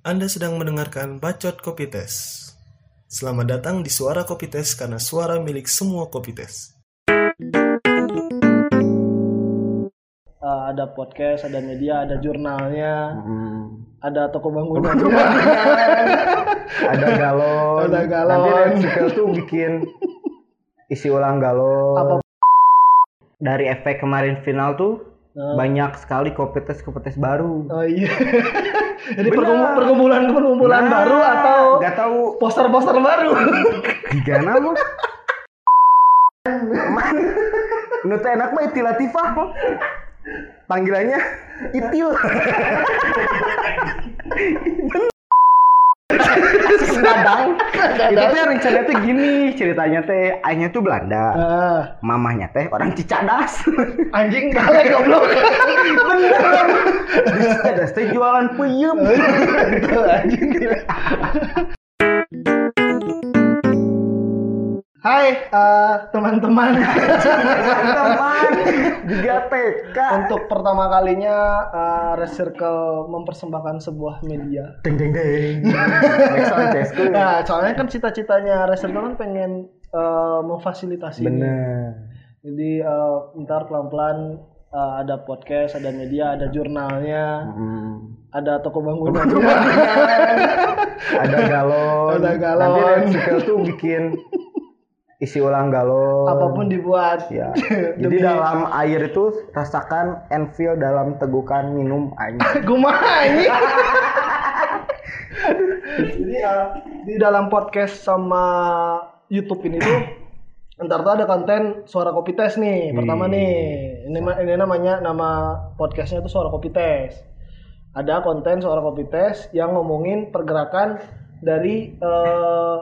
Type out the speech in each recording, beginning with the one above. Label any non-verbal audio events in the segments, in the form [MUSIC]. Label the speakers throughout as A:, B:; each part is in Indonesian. A: Anda sedang mendengarkan Bacot Kopi Tes. Selamat datang di Suara Kopi Tes karena suara milik semua kopi tes.
B: Eh, ada podcast, ada media, ada jurnalnya,
C: Hmm.
B: ada Mm-hmm. toko bangunan.
C: Ada galon.
B: Ada galon.
C: Nanti Red Circle tuh bikin isi ulang galon.
B: Apa?
C: Dari efek kemarin final tuh
B: Nah,
C: banyak sekali kompetes-kompetes baru.
B: oh iya. [LAUGHS] Jadi
C: Benar.
B: perkumpulan perkumpulan perkumpulan
C: Nah,
B: baru atau
C: nggak tahu
B: poster-poster [LAUGHS] baru.
C: jika nama? Nu teh enak mah Iti Latifah mah. Panggilannya Itil. Dadang. Itu teh rencananya teh gini ceritanya teh ayahnya tuh Belanda.
B: Ah,
C: Mamahnya teh orang Cicadas.
B: anjing balik goblok.
C: Cicadas teh jualan puyem.
B: Tuh, anjing. Hai eh, [LAUGHS] teman-teman.
C: Teman juga TK.
B: Untuk pertama kalinya eh, Red Circle mempersembahkan sebuah media.
C: Deng deng deng. Next on CSku.
B: Nah, soalnya kan cita-citanya Racer kan pengen eh, memfasilitasi. ini.
C: Bener.
B: Jadi eh, ntar pelan-pelan eh, ada podcast, ada media, ada jurnalnya,
C: Hmm.
B: ada toko bangunan.
C: [LAUGHS] ada galon.
B: Ada galon.
C: Nanti Red Circle tuh bikin isi ulang galon.
B: Apapun dibuat.
C: Ya. Jadi
B: [LAUGHS] Demi-
C: dalam air itu rasakan Enfield dalam tegukan minum air.
B: Gumaha ini. [LAUGHS]
C: [LAUGHS]
B: Jadi eh, di dalam podcast sama YouTube ini tuh ntar tuh ada konten suara kopi tes nih pertama
C: Hmm.
B: nih ini, ma- ini namanya nama podcastnya tuh suara kopi tes ada konten suara kopi tes yang ngomongin pergerakan dari eh,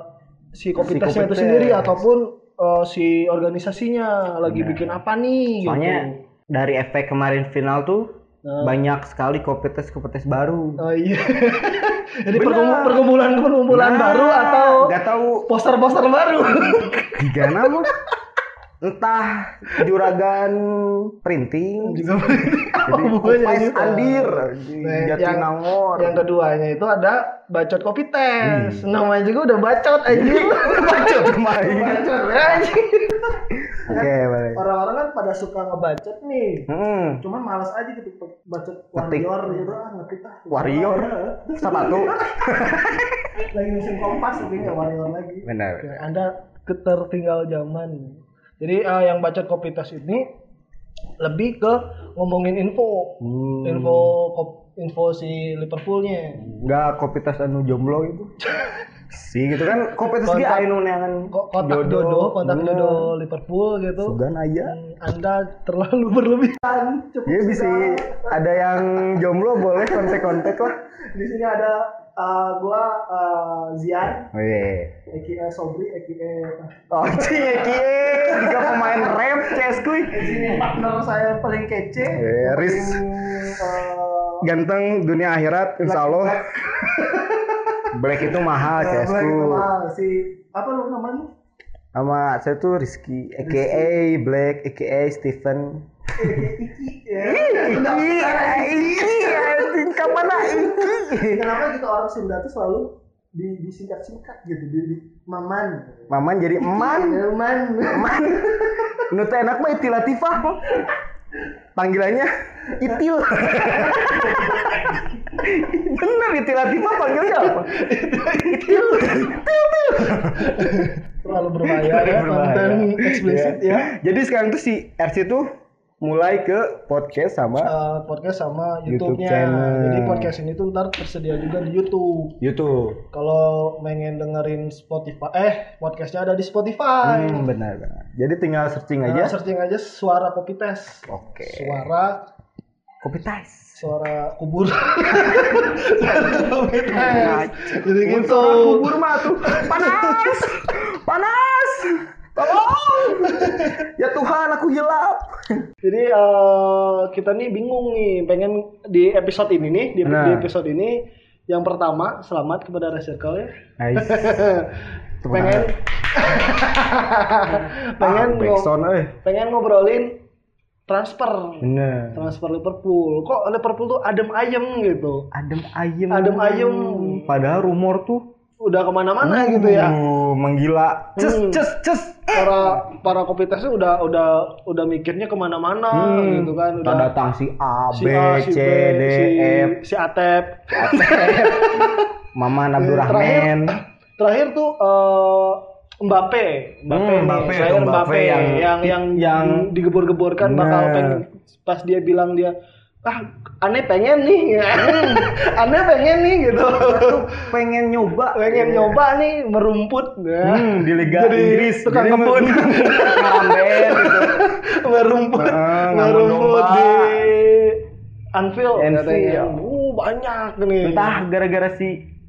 B: si kopi
C: Si
B: tesnya
C: kopi
B: itu
C: tes.
B: sendiri ataupun eh, si organisasinya lagi bikin apa nih
C: Soalnya
B: gitu
C: dari efek kemarin final tuh
B: Nah.
C: banyak sekali kompetes-kompetes baru.
B: Oh iya. [LAUGHS] Jadi
C: Benar.
B: perkumpulan perkumpulan perkumpulan
C: Nah,
B: baru atau
C: nggak tahu
B: poster-poster baru. [LAUGHS]
C: tiga nama entah juragan printing
B: Juga Gitu. [LAUGHS] apa
C: jadi
B: hubungannya Oh,
C: Kupes
B: gitu?
C: Andir
B: Nah,
C: Jatinangor
B: Yang keduanya itu ada bacot kopi tes.
C: Hmm.
B: Namanya juga udah bacot aja.
C: [LAUGHS]
B: bacot
C: kemarin.
B: Bacot ya, anjing.
C: oke boleh
B: Orang-orang kan pada suka ngebacot nih.
C: hmm.
B: Cuman malas aja ketik bacot
C: Ngetik.
B: warrior gitu ah ngetik ah.
C: warrior sepatu
B: Lagi musim kompas tapi nggak warrior lagi.
C: benar
B: Oke, Anda ketertinggal zaman. Jadi eh, yang baca kopi tes ini lebih ke ngomongin info,
C: Hmm.
B: info kop- info si Liverpoolnya.
C: nggak kopitas anu jomblo itu si gitu kan kopitas
B: Kontak-
C: dia anu neangan
B: Ko- Kotak dodo, kontak
C: Bener.
B: dodo Liverpool gitu.
C: sugan aja
B: Anda terlalu berlebihan. Kan, Cukup
C: ya bisa
B: sudah.
C: ada yang jomblo boleh kontak-kontak lah
B: Di sini ada eh, gua eh, Zian,
C: Oh, [LAUGHS] Weh.
B: aka Sobri, aka
C: Oh, cing ya kie, juga pemain rap CS kuy.
B: partner saya yang paling kece.
C: Eh, Riz.
B: Hmm, eh,
C: Ganteng dunia akhirat, insya Allah. [LAUGHS] Black itu mahal CS
B: Black itu
C: ku.
B: mahal. eh, si apa lu namanya?
C: Sama saya tuh Rizky, aka Black, aka Stephen.
B: Ya.
C: Iki, anjing, kemana Iki?
B: Kenapa gitu orang Sunda tuh selalu di disingkat-singkat gitu, di, di- maman.
C: Maman jadi eman,
B: Maman.
C: eman. Nu teh enak mah Iti Latifah. mah. Panggilannya Itil. Bener Iti Latifah panggilnya apa?
B: Terlalu
C: Iya,
B: berbahaya ya,
C: Berbahaya.
B: konten eksplisit
C: Iya.
B: ya.
C: Jadi sekarang tuh si RC tuh mulai ke podcast sama
B: Eh, podcast sama
C: YouTube
B: YouTube-nya.
C: channel.
B: Jadi podcast ini tuh ntar tersedia juga di YouTube.
C: YouTube.
B: Kalau pengen dengerin Spotify, eh podcastnya ada di Spotify.
C: Hmm, benar benar. Jadi tinggal searching
B: Nah,
C: aja.
B: searching aja suara kopi tes.
C: Oke.
B: Suara
C: Kopi tais.
B: suara kubur Suara kopi tes. jadi gitu
C: Untuk kubur mah tuh panas. panas. Tolong. Ya Tuhan aku hilap.
B: jadi eh, kita nih bingung nih pengen di episode ini nih di,
C: Nah.
B: di episode ini yang pertama selamat kepada Red Circle ya
C: Nice.
B: [LAUGHS] pengen pengen
C: [LAUGHS] pengen
B: ngo-
C: backsound eh.
B: pengen ngobrolin transfer
C: Bener.
B: transfer Liverpool kok Liverpool tuh adem ayem gitu
C: Adem ayem.
B: Adem ayem.
C: Padahal rumor tuh
B: udah kemana-mana gitu ya
C: uh, menggila. Ces
B: Hmm.
C: ces ces.
B: para para kopitasnya udah udah udah mikirnya kemana-mana
C: Hmm.
B: gitu kan udah
C: Tak datang si A, B,
B: A,
C: C, D, E,
B: si,
C: F,
B: si E Atep
C: Maman Abdurrahman.
B: terakhir tuh eh, Mbappe Mbappe
C: Hmm,
B: nih.
C: Mbappe,
B: terakhir
C: Mbappe
B: Mbappe, yang yang
C: yang-
B: yang,
C: yang-
B: digebor-geborkan bakal
C: Bener.
B: pengen pas dia bilang dia ah aneh pengen nih [LAUGHS] aneh pengen nih gitu [LAUGHS]
C: Pengen nyoba. Iya.
B: pengen nyoba nih merumput [LAUGHS] ya.
C: Hmm, di Liga
B: Jadi
C: Inggris.
B: tukang
C: [LAUGHS]
B: kebun.
C: Ngaramben
B: [LAUGHS]
C: gitu.
B: merumput
C: Heeh,
B: merumput di
C: ngambang domba.
B: Anfield,
C: Anfield.
B: katanya. Uh, banyak nih
C: ya. Entah gara-gara si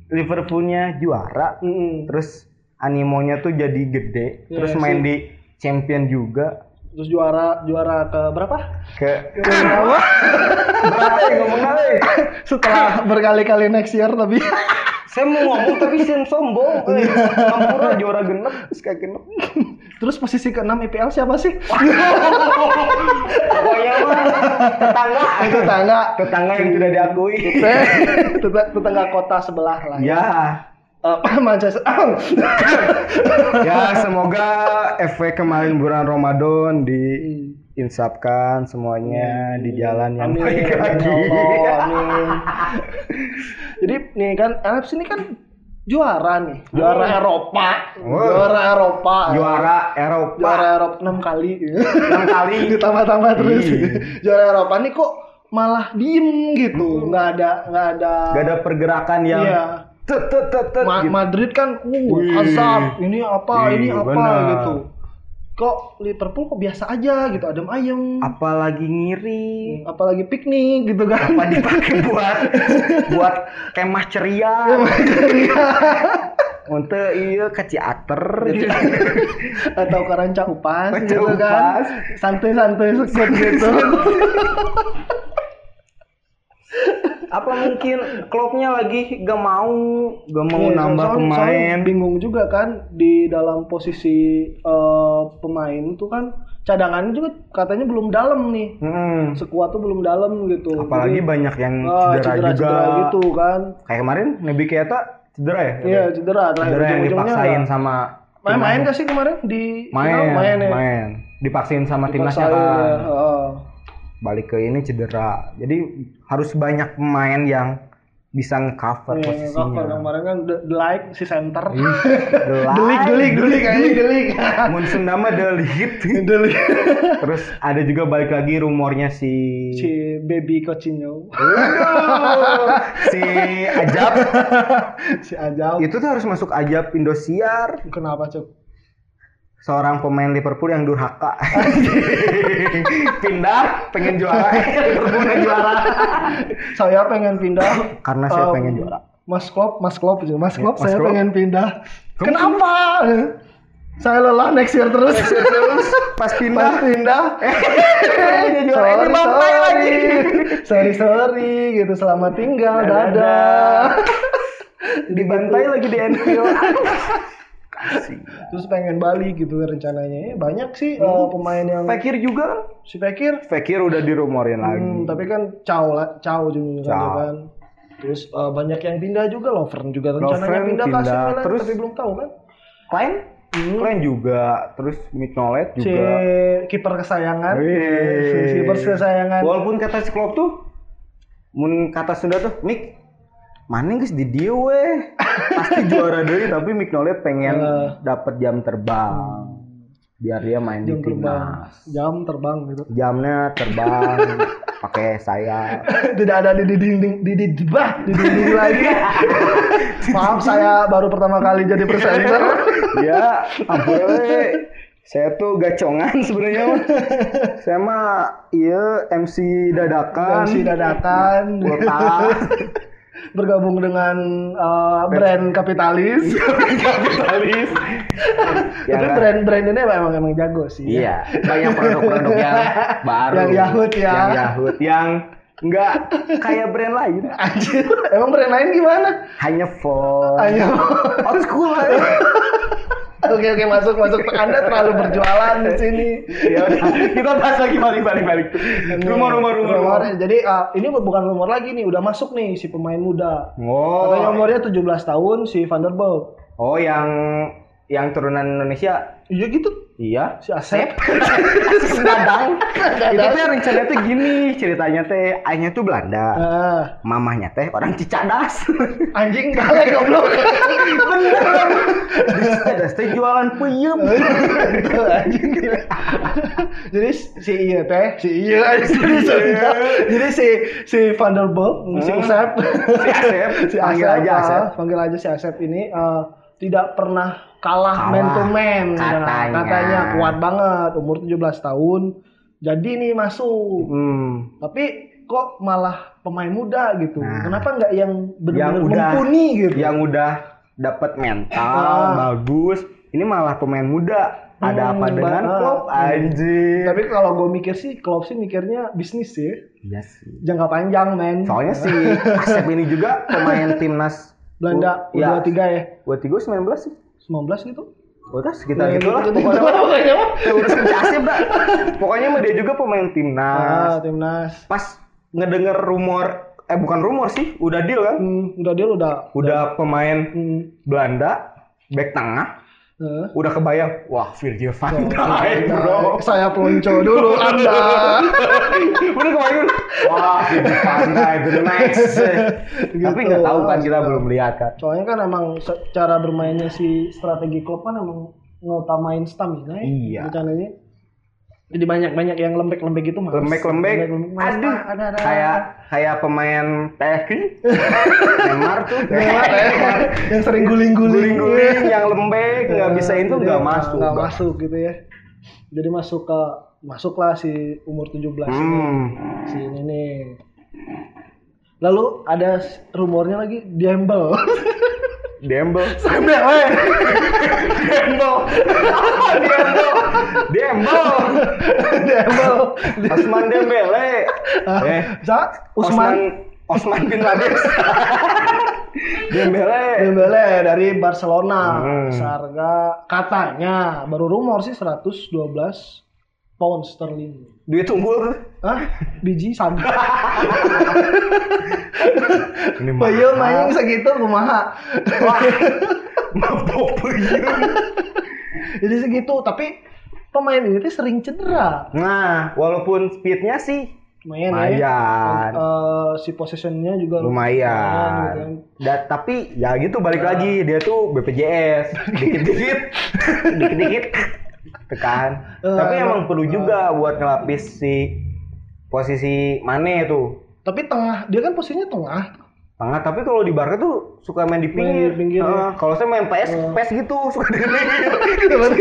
C: Liverpoolnya juara,
B: Mm-mm.
C: terus animonya tuh jadi gede,
B: Iya
C: terus
B: sih.
C: main di champion juga
B: terus juara juara ke berapa
C: ke
B: [LAUGHS]
C: Ah, berapa ya ngomong kali? [LAUGHS]
B: setelah berkali-kali next year lebih
C: Saya mau ngomong tapi sen
B: [LAUGHS]
C: sombong. Eh, Kampura juara genep, terus kayak genep.
B: Terus posisi ke-6 IPL siapa sih?
C: Pokoknya iya, mah tetangga, [LAUGHS]
B: tetangga.
C: tetangga yang tidak diakui.
B: Teta- tetangga kota sebelah lah.
C: ya,
B: Eh, [CLEARS THROAT]
C: [CLEARS THROAT]
B: Manchester.
C: ya semoga efek kemarin bulan Ramadan di insapkan semuanya Ya, di jalan yang
B: Amin.
C: baik
B: Amin.
C: lagi.
B: Allah,
C: [LAUGHS]
B: amin. Jadi nih kan NFC ini kan juara nih. Juara
C: Hmm.
B: Eropa.
C: Wow.
B: Juara Eropa.
C: Juara Eropa.
B: Juara Eropa 6 kali.
C: [LAUGHS] enam kali
B: Ditambah-tambah terus. [LAUGHS]
C: Iya.
B: Juara Eropa nih kok malah diem gitu. Nggak ada nggak ada
C: gak Iya. ada pergerakan yang
B: Iya.
C: tet tet tet tet
B: Ma-
C: gitu.
B: Madrid kan uh
C: Wih.
B: azab ini apa
C: Wih,
B: ini apa
C: benar.
B: gitu kok Liverpool kok biasa aja gitu adem ayem
C: apalagi ngiri
B: apalagi piknik gitu kan
C: apa dipakai buat buat kemah ceria untuk iya ke teater
B: [LAUGHS] atau ke rancang upas
C: Rancang
B: gitu kan
C: Upas.
B: santai-santai sekut gitu
C: apa mungkin klubnya lagi gak mau gak mau
B: Iya,
C: nambah
B: soalnya-
C: pemain
B: soalnya bingung juga kan di dalam posisi eh, pemain tuh kan cadangan juga katanya belum dalam nih
C: Mm-mm. Ah,
B: sekuat tuh belum dalam gitu
C: apalagi
B: Jadi,
C: banyak yang
B: eh,
C: cedera, juga
B: cedera gitu kan
C: kayak kemarin Nabi Keita cedera ya
B: Iya cedera. Terakhir
C: cedera yang
B: ujung-ujungnya
C: dipaksain
B: nggak-
C: sama
B: Main-main gak sih kemarin di
C: main
B: final? main ya.
C: main dipaksain sama timnasnya
B: Dipaksain,
C: kan
B: ya, heeh.
C: balik ke ini cedera. Jadi harus banyak pemain yang bisa ngecover
B: Iya, cover.
C: posisinya.
B: kemarin kan the, the like si center. [LAUGHS]
C: Delik,
B: Delik delik delik anjing delik.
C: [LAUGHS] Mun
B: [LAUGHS]
C: Sundama delik.
B: Delik.
C: Terus ada juga balik lagi rumornya si
B: [LAUGHS] si baby Coutinho.
C: [LAUGHS]
B: [LAUGHS]
C: si Ajab.
B: si Ajau.
C: Itu tuh harus masuk Ajab Indosiar.
B: Kenapa cuk?
C: Seorang pemain Liverpool yang durhaka.
B: [LAUGHS]
C: Pindah, pengen
B: [LAUGHS]
C: juara. Liverpool yang juara.
B: Saya pengen pindah
C: Karena
B: Em,
C: saya pengen juara. Ya,
B: Mas Klopp, Mas Klopp, Cuk. Mas Klopp,
C: Mas
B: saya
C: Klopp.
B: pengen pindah.
C: Kamu-
B: Kenapa? Saya lelah next year terus. [LAUGHS]
C: Terus
B: Pas
C: pas pindah, eh,
B: pindah,
C: pengen juara ini bapak lagi.
B: sorry sorry gitu selamat tinggal
C: Dadah.
B: [LAUGHS] dadah
C: dibantai lagi di Anfield. [LAUGHS]
B: terus pengen balik gitu rencananya Eh, banyak sih eh, pemain yang
C: Fakir juga kan?
B: si Fekir
C: Fakir udah dirumorin lagi.
B: Hmm, tapi kan Cao lah Cao juga kan,
C: Cao.
B: ya kan terus eh, banyak yang pindah juga Lovren juga rencananya
C: Lovren
B: pindah, ke AC
C: pindah.
B: Milan
C: Terus-
B: tapi belum tahu kan
C: Klein?
B: Hmm.
C: Klein juga, terus Mignolet
B: si
C: juga.
B: kiper kesayangan
C: Wih.
B: si kiper kesayangan
C: Walaupun kata si Klopp tuh, mun kata Sunda tuh, Mik, mana guys di dia
B: [LAUGHS]
C: weh. Pasti juara deh, tapi Mignolet pengen
B: Eh.
C: dapat jam terbang. Biar dia main
B: jam
C: di
B: terbang
C: timnas.
B: jam terbang gitu [LAUGHS]
C: Jamnya terbang, pakai
B: [LAUGHS]
C: sayap.
B: tidak ada di di dinding di di di- bah, di
C: [LAUGHS]
B: dinding lagi. Maaf saya baru pertama kali jadi presenter.
C: ya ampun we. saya tuh gacongan sebenarnya
B: [LAUGHS]
C: mah. saya mah iya MC dadakan
B: MC dadakan
C: Botak.
B: [LAUGHS] bergabung dengan eh, brand kapitalis.
C: kapitalis ya
B: Tapi
C: kan?
B: brand-brand ini emang emang jago sih.
C: iya banyak produk-produk yang baru
B: Yang Yahut ya.
C: yang Yahut yang nggak kayak brand lain
B: Anjir, emang brand lain gimana?
C: [LAUGHS] hanya for
B: Ayo.
C: old school aja.
B: Oke oke masuk masuk. Anda terlalu berjualan di sini.
C: Ya udah, kita bahas lagi balik balik balik. Rumor rumor rumor. rumor.
B: Jadi eh, ini bukan rumor lagi nih, udah masuk nih si pemain muda. Katanya
C: Oh,
B: umurnya 17 tahun si Vanderbilt.
C: oh yang yang turunan Indonesia,
B: Iya gitu.
C: iya.
B: Si Asep. [LAUGHS]
C: Dadang. Itu
B: Dadang.
C: tuh rencananya tuh gini ceritanya teh, ayahnya tuh Belanda,
B: Ah,
C: mamahnya teh orang Cicadas. [LAUGHS]
B: anjing galak goblok.
C: Beneran. Di Cicadas teh jualan peyem.
B: Betul, anjing. Jadi si iya teh, si iya si iya. Jadi si si Vanderbilt, si
C: Hmm.
B: Asep,
C: Si Asep,
B: [LAUGHS] si
C: panggil
B: Asep,
C: aja
B: ah,
C: Asep.
B: panggil aja si Asep ini eh, tidak pernah kalah,
C: Kalah,
B: man to man Nah,
C: katanya.
B: katanya kuat banget umur 17 tahun. Jadi nih masuk.
C: Hmm.
B: Tapi kok malah pemain muda gitu.
C: Nah.
B: Kenapa nggak yang benar-benar
C: Yang udah.
B: mumpuni gitu?
C: yang udah dapat mental
B: Ah.
C: bagus ini malah pemain muda ada
B: Hmm,
C: apa dengan
B: banget.
C: klub anjir
B: Tapi kalau gue mikir sih, Klopp sih mikirnya bisnis sih.
C: Iya sih.
B: jangka panjang men
C: soalnya si Asep ini juga
B: [LAUGHS]
C: pemain timnas
B: Belanda
C: U- ya.
B: U23 ya
C: buat tiga 19 sih
B: 19 gitu
C: udah sekitar
B: Ya,
C: gitu lah
B: gitu-gitu
C: pokoknya
B: lah, pokoknya mah.
C: mah, urusan si Asep dah pokoknya mah dia juga pemain
B: ah,
C: timnas
B: timnas
C: pas ngedenger rumor eh bukan rumor sih udah deal kan
B: hmm, udah deal udah
C: udah pemain
B: hmm.
C: Belanda back tengah
B: eh.
C: udah kebayang wah Virgil van Dijk
B: Nah,
C: bro
B: saya pelonco dulu
C: [LAUGHS]
B: anda
C: Udah kemarin Wah, itu pandai, itu next. Tapi nggak tahu kan kita belum lihat kan.
B: soalnya kan emang se- cara bermainnya si strategi klub kan emang ngutamain stamina ya
C: Iya.
B: rencananya jadi banyak-banyak yang lembek-lembek gitu mas
C: Lembek-lembek.
B: males.
C: Aduh,
B: Ah, ada, ada.
C: kayak kayak pemain
B: [LAUGHS]
C: PSG. Neymar tuh.
B: Neymar ya,
C: [LAUGHS]
B: yang sering guling-guling Iya.
C: Guling-guling yang lembek, nggak bisa itu
B: Jadi
C: nggak masuk.
B: nggak masuk gitu ya jadi masuk ke masuklah si umur 17 ini,
C: Hmm.
B: si ini nih lalu ada s- rumornya lagi [LAUGHS] Dembel
C: Dembel.
B: Dembel
C: [LAUGHS]
B: [LAUGHS]
C: Dembel. Dembel. Dembel.
B: Dembel
C: Osman Dembele. Eh,
B: Sa- Usman
C: Osman Osman bin [LAUGHS] Laden. Dembele.
B: Dembele dari Barcelona
C: Hmm.
B: seharga katanya baru rumor sih 112 pound sterling
C: Duit unggul.
B: Hah? Biji saga.
C: [LAUGHS] Ini
B: Bayar Iya, main segitu kumaha.
C: mabok
B: Jadi segitu, tapi pemain ini tuh sering cedera.
C: Nah, walaupun speednya sih
B: Lumayan ya.
C: lumayan,
B: Eh, si possessionnya juga lumayan gitu kan.
C: lumayan. Da- tapi ya gitu balik lagi dia tuh BPJS dikit-dikit, dikit-dikit tekan.
B: Eh,
C: tapi
B: emang-
C: emang perlu juga buat ngelapis si posisi Mane tuh.
B: Tapi tengah, dia kan posisinya
C: [LAUGHS]
B: tengah.
C: Tengah, tapi kalau di Barca tuh suka main di pinggir.
B: di pinggir,
C: Ah, Kalau saya main PS, PS gitu [LAUGHS] suka di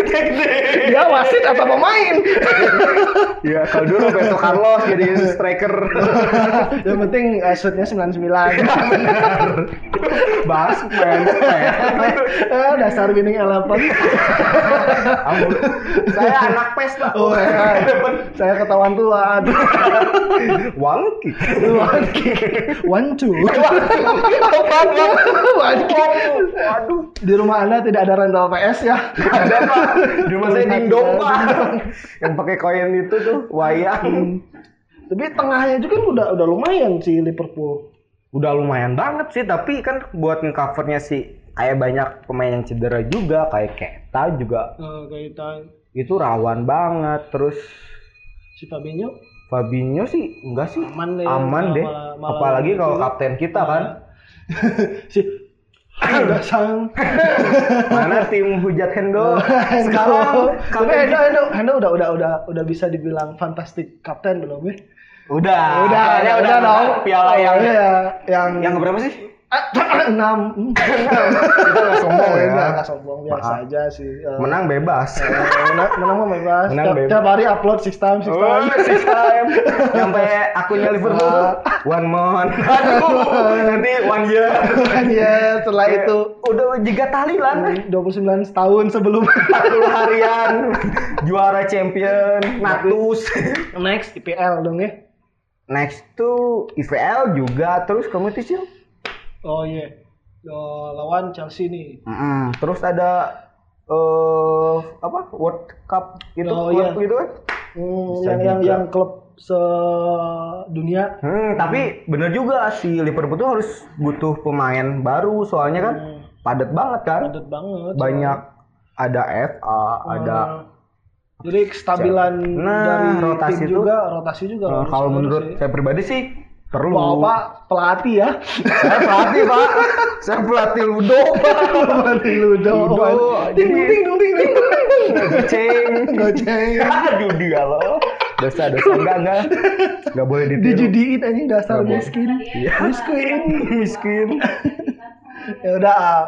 C: pinggir.
B: Dia wasit atau
C: [LAUGHS]
B: pemain?
C: Iya, kalau dulu Roberto Carlos jadi striker. [LAUGHS]
B: Yang penting eh, shootnya 99.
C: Bahas main
B: Eh, dasar winning eleven.
C: Ampun. Saya anak PES, Pak.
B: Oh, eh, saya ketahuan tua. Aduh,
C: Wangki.
B: One kick. One two. One kick.
C: Waduh.
B: Di rumah Anda tidak ada rental PS ya?
C: Ada, Pak. Di rumah saya
B: Ada,
C: dingdong,
B: ada.
C: Pak. Yang pakai koin itu tuh wayang.
B: Tapi tengahnya juga kan udah udah lumayan sih Liverpool.
C: Udah lumayan banget sih, tapi kan buat ngecovernya sih kayak banyak pemain yang cedera juga, kayak Keta juga
B: kaitan
C: itu rawan banget. Terus
B: si Fabinho
C: Fabinho sih enggak sih
B: Aman deh. Malah-
C: aman deh.
B: malah- malah
C: apalagi
B: gitu.
C: kalau kapten kita kan
B: si udah sang
C: mana tim hujat [LAUGHS] Hendo
B: Kalau-
C: sekarang
B: tapi
C: kapten
B: Endo Endo Endo udah udah udah udah bisa dibilang fantastik kapten belum ya?
C: udah kayaknya udah, menang piala yang
B: Iya, yang Ah,
C: yang berapa sih
B: [CLEARS THROAT] enam Hmm.
C: kita nggak
B: [LAUGHS]
C: sombong ya
B: Enggak, enggak sombong biasa
C: Maaf.
B: aja sih. Eh,
C: menang bebas [LAUGHS]
B: eh, menang menang mah bebas.
C: Menang
B: Tiap,
C: bebas.
B: tiap hari upload sistem
C: Oh,
B: sistem. [LAUGHS]
C: six [LAUGHS] time. sampai akunnya Liverpool one month aduh nanti one year
B: ya setelah itu
C: [LAUGHS] udah jika tahlilan
B: 29 tahun sebelum [LAUGHS]
C: 40 harian juara champion natus
B: next IPL dong ya.
C: next tuh IVL juga terus community shield
B: Oh iya. Oh, Ya, lawan Chelsea nih.
C: Mm-mm. Terus ada eh apa World Cup itu
B: Oh,
C: klub
B: iya.
C: gitu kan.
B: Hmm,
C: Bisa
B: yang, yang
C: juga.
B: yang klub sedunia
C: Hmm, tapi bener juga si Liverpool tuh harus butuh pemain baru soalnya kan
B: Hmm.
C: padat banget kan.
B: padat banget. iya.
C: Banyak ada FA, ada
B: Nah, jadi kestabilan
C: Nah,
B: dari
C: rotasi
B: tim
C: itu-
B: juga rotasi juga.
C: eh,
B: harus-
C: kalau
B: harus
C: menurut
B: ya.
C: saya pribadi sih perlu.
B: Bapak pelatih ya.
C: [LAUGHS] Saya pelatih, Pak. Saya pelatih Ludo, Pak.
B: pelatih Ludo.
C: Ludo.
B: Ding ding ding ding ding.
C: Kucing.
B: Goceng.
C: [LAUGHS] Aduh, dia loh. Dosa, dosa. Enggak, enggak. Enggak boleh ditiru.
B: Dijudiin anjing dasar
C: Nggak boleh.
B: miskin.
C: Iya.
B: [LAUGHS] Miskin.
C: Miskin.
B: Ya udah ah,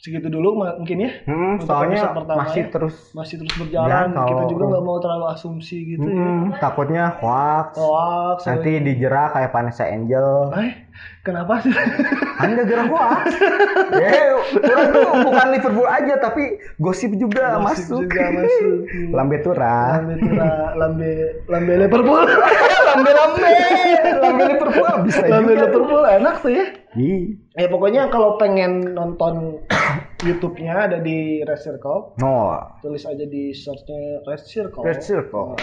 B: segitu dulu ma- mungkin ya.
C: Hmm,
B: Untuk
C: soalnya
B: episode pertama
C: masih
B: ya.
C: terus
B: Masih terus berjalan.
C: Ya, kalau-
B: Kita juga nggak mau terlalu asumsi gitu. ya.
C: Hmm, takutnya hoax.
B: Oh. Hoax.
C: Nanti dijera kayak Vanessa Angel.
B: Eh, kenapa sih?
C: Anda gerah
B: [LAUGHS]
C: hoax. Eh, orang tuh bukan Liverpool aja tapi gosip juga
B: Gosip
C: [LAUGHS] masuk. [LAUGHS]
B: juga masuk.
C: Lambe turah.
B: lambe tura- lambe lambe [LAUGHS] Liverpool.
C: lambe lambe. Lambe Liverpool bisa
B: lambe
C: juga.
B: Liverpool enak sih ya.
C: Ih,
B: Ya pokoknya kalau pengen nonton [COUGHS] YouTube-nya ada di Red Circle,
C: No.
B: tulis aja di search-nya Red Circle.
C: Red Circle.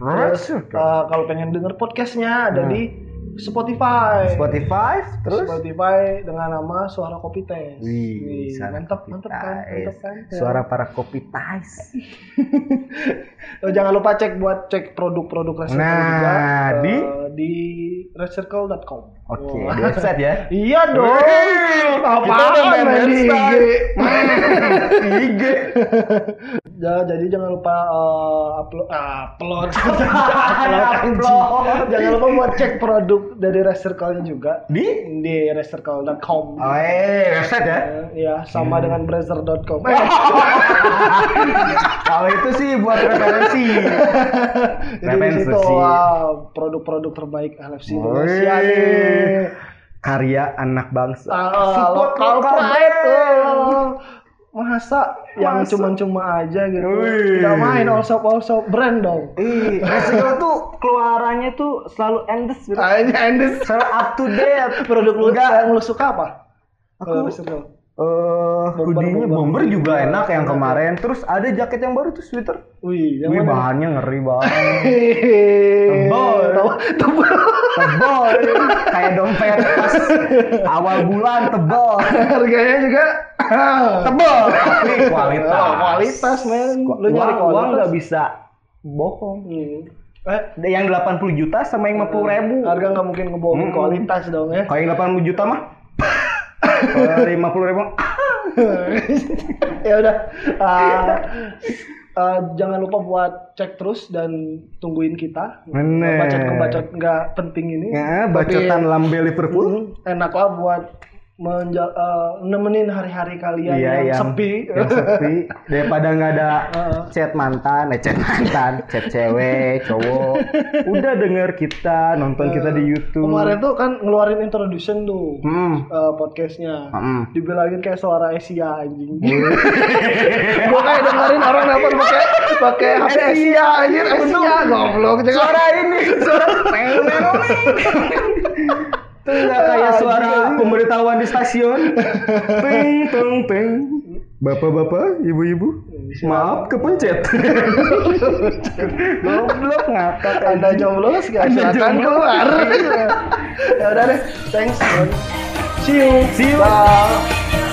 B: Nah,
C: Red
B: terus,
C: Circle.
B: uh, kalau pengen denger podcast-nya ada di Spotify.
C: Spotify terus
B: Spotify dengan nama Suara Kopi Teh.
C: Wih, suara
B: mantap, mantap kan,
C: kopitais.
B: mantap kan. Ya.
C: Suara para kopi
B: [LAUGHS]
C: tais.
B: Oh, jangan lupa cek buat cek produk-produk Red Circle
C: Nah,
B: juga uh,
C: di?
B: di redcircle.com.
C: Oke,
B: Wah.
C: di website ya.
B: Iya dong. Apaan main di IG? [LAUGHS]
C: IG.
B: Ya, jadi jangan lupa eh, upload ah,
C: [LAUGHS]
B: upload.
C: Upload.
B: jangan lupa buat cek produk dari Resercall-nya juga
C: Di?
B: di resercall.com.
C: Oh, Hmm. eh, website ya.
B: Ya, sama dengan browser.com. Eh,
C: Kalau Oh, itu sih buat referensi.
B: [LAUGHS] jadi di situ
C: referensi.
B: wah, produk-produk terbaik LFC Indonesia
C: Wih.
B: nih.
C: Karya anak bangsa.
B: Ah,
C: Support
B: lokal
C: lokal
B: pride.
C: brand.
B: eh. Masa yang
C: Masa.
B: cuma-cuma aja gitu.
C: Wih.
B: Kita main all shop all shop brand dong.
C: Ih, Resikal tuh keluarannya tuh selalu endless gitu.
B: Kayaknya Andes
C: Selalu up to date.
B: produk lu
C: Enggak.
B: yang lu suka apa?
C: Aku-
B: Kalau resercall.
C: Eh, hoodie-nya
B: bomber.
C: bomber juga
B: Iya,
C: enak yang
B: Enak.
C: kemarin. Terus ada jaket yang baru tuh sweater.
B: Wih, yang
C: Wih,
B: mana?
C: bahannya ngeri banget.
B: Tebal.
C: Tebal.
B: Tebal.
C: tebal kayak dompet pas awal bulan tebal
B: Harganya juga
C: tebal tapi kualitas
B: Oh, kualitas, men. Lu
C: lu
B: nyari
C: nyari uang
B: kualitas.
C: nggak bisa bohong
B: Hmm. Eh,
C: yang 80 juta sama yang 50 ribu
B: harga nggak mungkin ngebohongin
C: Mm-mm.
B: kualitas dong ya.
C: kalau yang 80 juta mah [LAUGHS] kalau 50 ribu
B: ya udah. Ah, ah, jangan lupa buat cek terus dan tungguin kita.
C: Bener.
B: Bacot kebacot nggak penting ini.
C: ya
B: Tapi-
C: bacotan lambe Liverpool
B: Hmm, enak lah buat menja- eh, nemenin hari-hari kalian yang,
C: Iya,
B: sepi. [LAUGHS]
C: yang sepi daripada nggak ada
B: Heeh.
C: chat mantan, eh chat mantan, chat cewek, cowok. Udah denger kita, nonton kita di YouTube.
B: Kemarin tuh kan ngeluarin introduction tuh
C: Hmm.
B: eh, podcastnya.
C: Mm.
B: Dibilangin kayak suara Asia anjing. [LAUGHS] Gue kayak dengerin orang nelfon pakai
C: Eh,
B: pakai HP Asia anjir, Asia goblok. Jangan
C: iya, suara ini [LAUGHS] suara itu nggak kayak suara pemberitahuan di stasiun ping tong ping bapak-bapak ibu-ibu maaf kepencet [LAUGHS] goblok ngakak
B: Anda jomblo nggak
C: Anda
B: silakan
C: jomblo.
B: keluar.
C: Iya.
B: ya udah deh, thanks. man. See you.
C: See you.
B: Bye.
D: Thank